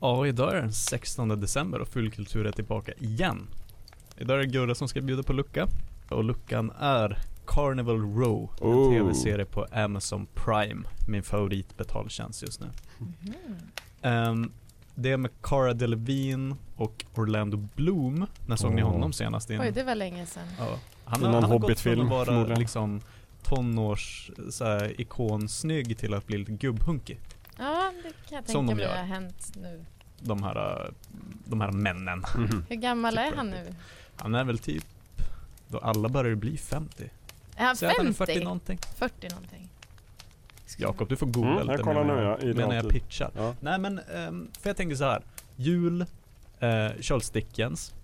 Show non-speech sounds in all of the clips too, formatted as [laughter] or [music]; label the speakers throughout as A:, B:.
A: Ja, idag är det den 16 december och Fullkultur är tillbaka igen. Idag är det Gurra som ska bjuda på lucka. Och luckan är Carnival Row, en
B: Oh.
A: tv-serie på Amazon Prime. Min favoritbetaltjänst just nu. Ehm, det är med Cara Delevingne och Orlando Bloom. När såg ni
B: Oh.
A: honom senast? i en-
C: Oj, det var länge sedan.
A: Ja. Han,
B: I
A: har,
B: någon
A: han har gått från
B: Hobbit-film,
A: att vara
B: förmodligen.
A: liksom tonårs så här, ikonsnygg till att bli lite gubbhunkig.
C: Ja, det kan jag
A: Som
C: tänka
A: de
C: mig
A: gör.
C: har hänt nu.
A: De här, eh, de här männen.
C: Hur gammal
A: Typ
C: är han nu?
A: Han är väl typ, då alla börjar bli 50.
C: Är han
A: Säg att han är
C: 50?
A: 40 någonting.
C: 40 någonting.
A: Jakob, du får googla
B: Mm, jag
A: lite
B: kollar
A: medan
B: nu, ja, i
A: medan jag
B: realtid.
A: pitchar.
B: Ja.
A: Nej men, ehm, för jag tänker så här. Jul, eh, Charles Dickens,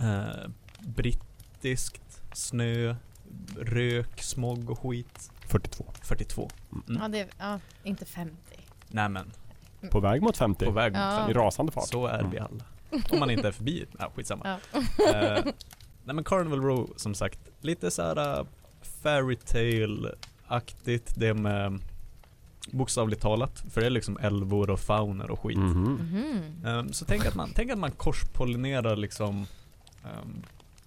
A: eh, brittiskt, snö, rök, smog och skit.
B: 42.
A: 42. Mm.
C: Ja, det är, ja, inte 50.
A: Nej men,
B: På väg mot 50.
A: på väg mot
C: Ja.
A: 50.
B: I rasande fart.
A: Så är alltså
B: Mm.
A: vi alla. Om man inte är förbi, [laughs] ja skitsamma.
C: Ja.
A: Eh, nej men Carnival Row som sagt, lite såhär uh, fairy tale-aktigt. Det är med bokstavligt talat, för det är liksom älvor och fauner och skit.
B: Mhm.
C: Mhm.
A: Ehm, så tänk att man, tänk att man korspollinerar liksom ehm,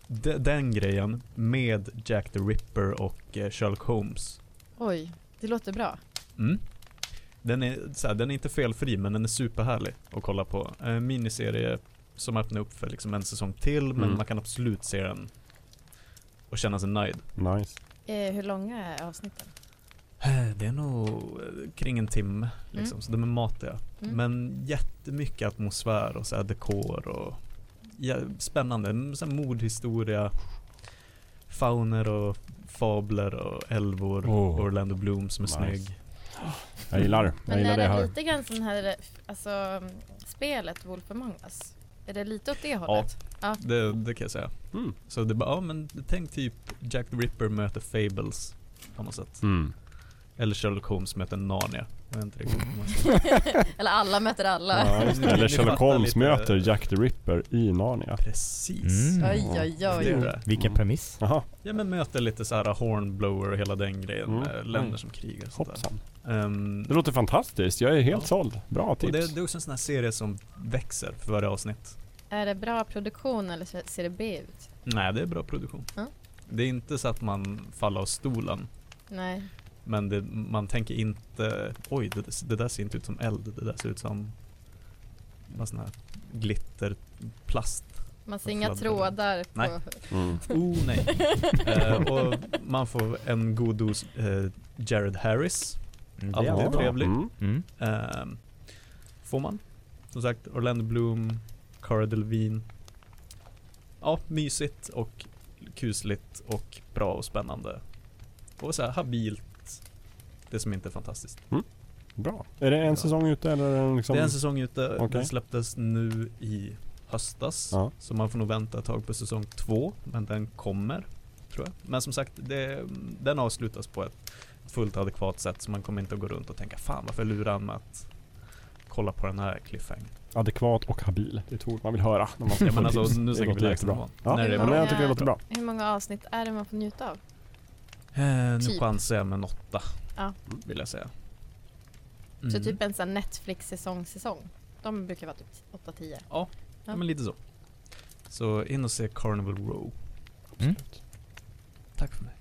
A: de, den grejen med Jack the Ripper och eh, Sherlock Holmes.
C: Oj, det låter bra.
A: Mm. Den är, så här, den är inte felfri men den är superhärlig att kolla på. En miniserie som öppnar upp för liksom en säsong till men
B: Mm.
A: man kan absolut se den och känna sig nöjd.
B: Nice.
C: Eh, hur långa är avsnitten?
A: Eh, Det är nog eh, kring en timme liksom,
C: Mm.
A: så de är matiga.
C: Mm.
A: Men jättemycket atmosfär och så här dekor och ja, spännande. Mm, Så här mordhistoria, fauner och fabler och älvor.
B: Oh.
A: Orlando Bloom som är
B: Nice.
A: snygg.
B: Jag gillar det. Jag
C: Men
B: gillar
C: är
B: det
C: det,
B: här.
C: lite grann sån här, alltså spelet Wolf Among Us? Är det lite åt det hållet?
A: Det, det kan jag säga.
B: Mm.
A: Så det bara, ja men tänk typ Jack the Ripper möter Fables på något sätt.
B: Mm.
A: Eller Sherlock Holmes möter Narnia. Jag vet inte riktigt. hur man ska-
C: Eller alla möter alla?
B: Ja, just det.
A: Ni- [laughs]
B: Eller
A: ni
B: Sherlock
A: fattar
B: Holmes
A: lite-
B: möter Jack the Ripper i Narnia.
A: Precis.
D: Mm.
C: Oj, oj,
A: Det är
C: oj.
A: det.
D: Vilken
B: Mm.
D: premiss.
B: Jaha,
A: Ja men möter lite så här hornblower och hela den grejen.
B: Mm.
A: med Länder
B: Oj.
A: som krigar och sånt där.
B: hoppsan.
A: Ehm,
B: Det låter fantastiskt. Jag är helt
A: Ja.
B: såld. Bra
A: och
B: tips.
A: det, det är också en sån här serie som växer för varje avsnitt.
C: Är det bra produktion eller ser ser det B ut?
A: Nej, det är bra produktion.
C: Ja.
A: Det är inte så att man faller av stolen.
C: Nej.
A: Men det, man tänker inte, oj det, det där ser inte ut som eld, det där ser ut som vad sån här glitterplast.
C: Man ser inga
A: Fladdrar.
C: trådar på...
A: Nej.
B: Mm.
A: [laughs] Oh nej. Eh, och man får en god dos eh, Jared Harris,
D: Mm,
A: Ja, det är
D: alltid.
A: bra. trevligt.
B: Mm.
D: Mm.
A: eh, får man. Som sagt, Orlando Bloom, Cara Delevingne. Ja, mysigt och kusligt och bra och spännande. Och så här habilt, det som inte är fantastiskt.
B: Bra. Är det en
A: Bra.
B: säsong ute eller är den liksom...
A: Det är en säsong ute,
B: Okej.
A: den släpptes nu i höstas.
B: Ja.
A: Så man får nog vänta ett tag på säsong två, men den kommer. Tror jag. Men som sagt, det, den avslutas på ett fullt adekvat sätt så man kommer inte att gå runt och tänka fan varför lurar han med att kolla på den här cliffhangern.
B: Adekvat och habil. Det är ett ord man vill höra när man ska
A: Ja men
B: få
A: alltså
B: tips.
A: nu
B: Det
A: snackar vi
B: låter jättebra.
A: lägstanivån.
B: Ja,
A: När det är
B: ja,
A: bra.
B: men jag tycker det låter bra.
C: Hur många avsnitt är det man får njuta av?
A: Eh, nu
C: Typ.
A: chansar jag med en åtta,
C: Ja.
A: vill jag säga.
C: Så
A: Mm.
C: typ en sån här Netflix säsong. De brukar vara typ 8-10.
A: Ja men lite så. Så in och se Carnival Row.
D: Mm.
A: Tack för mig.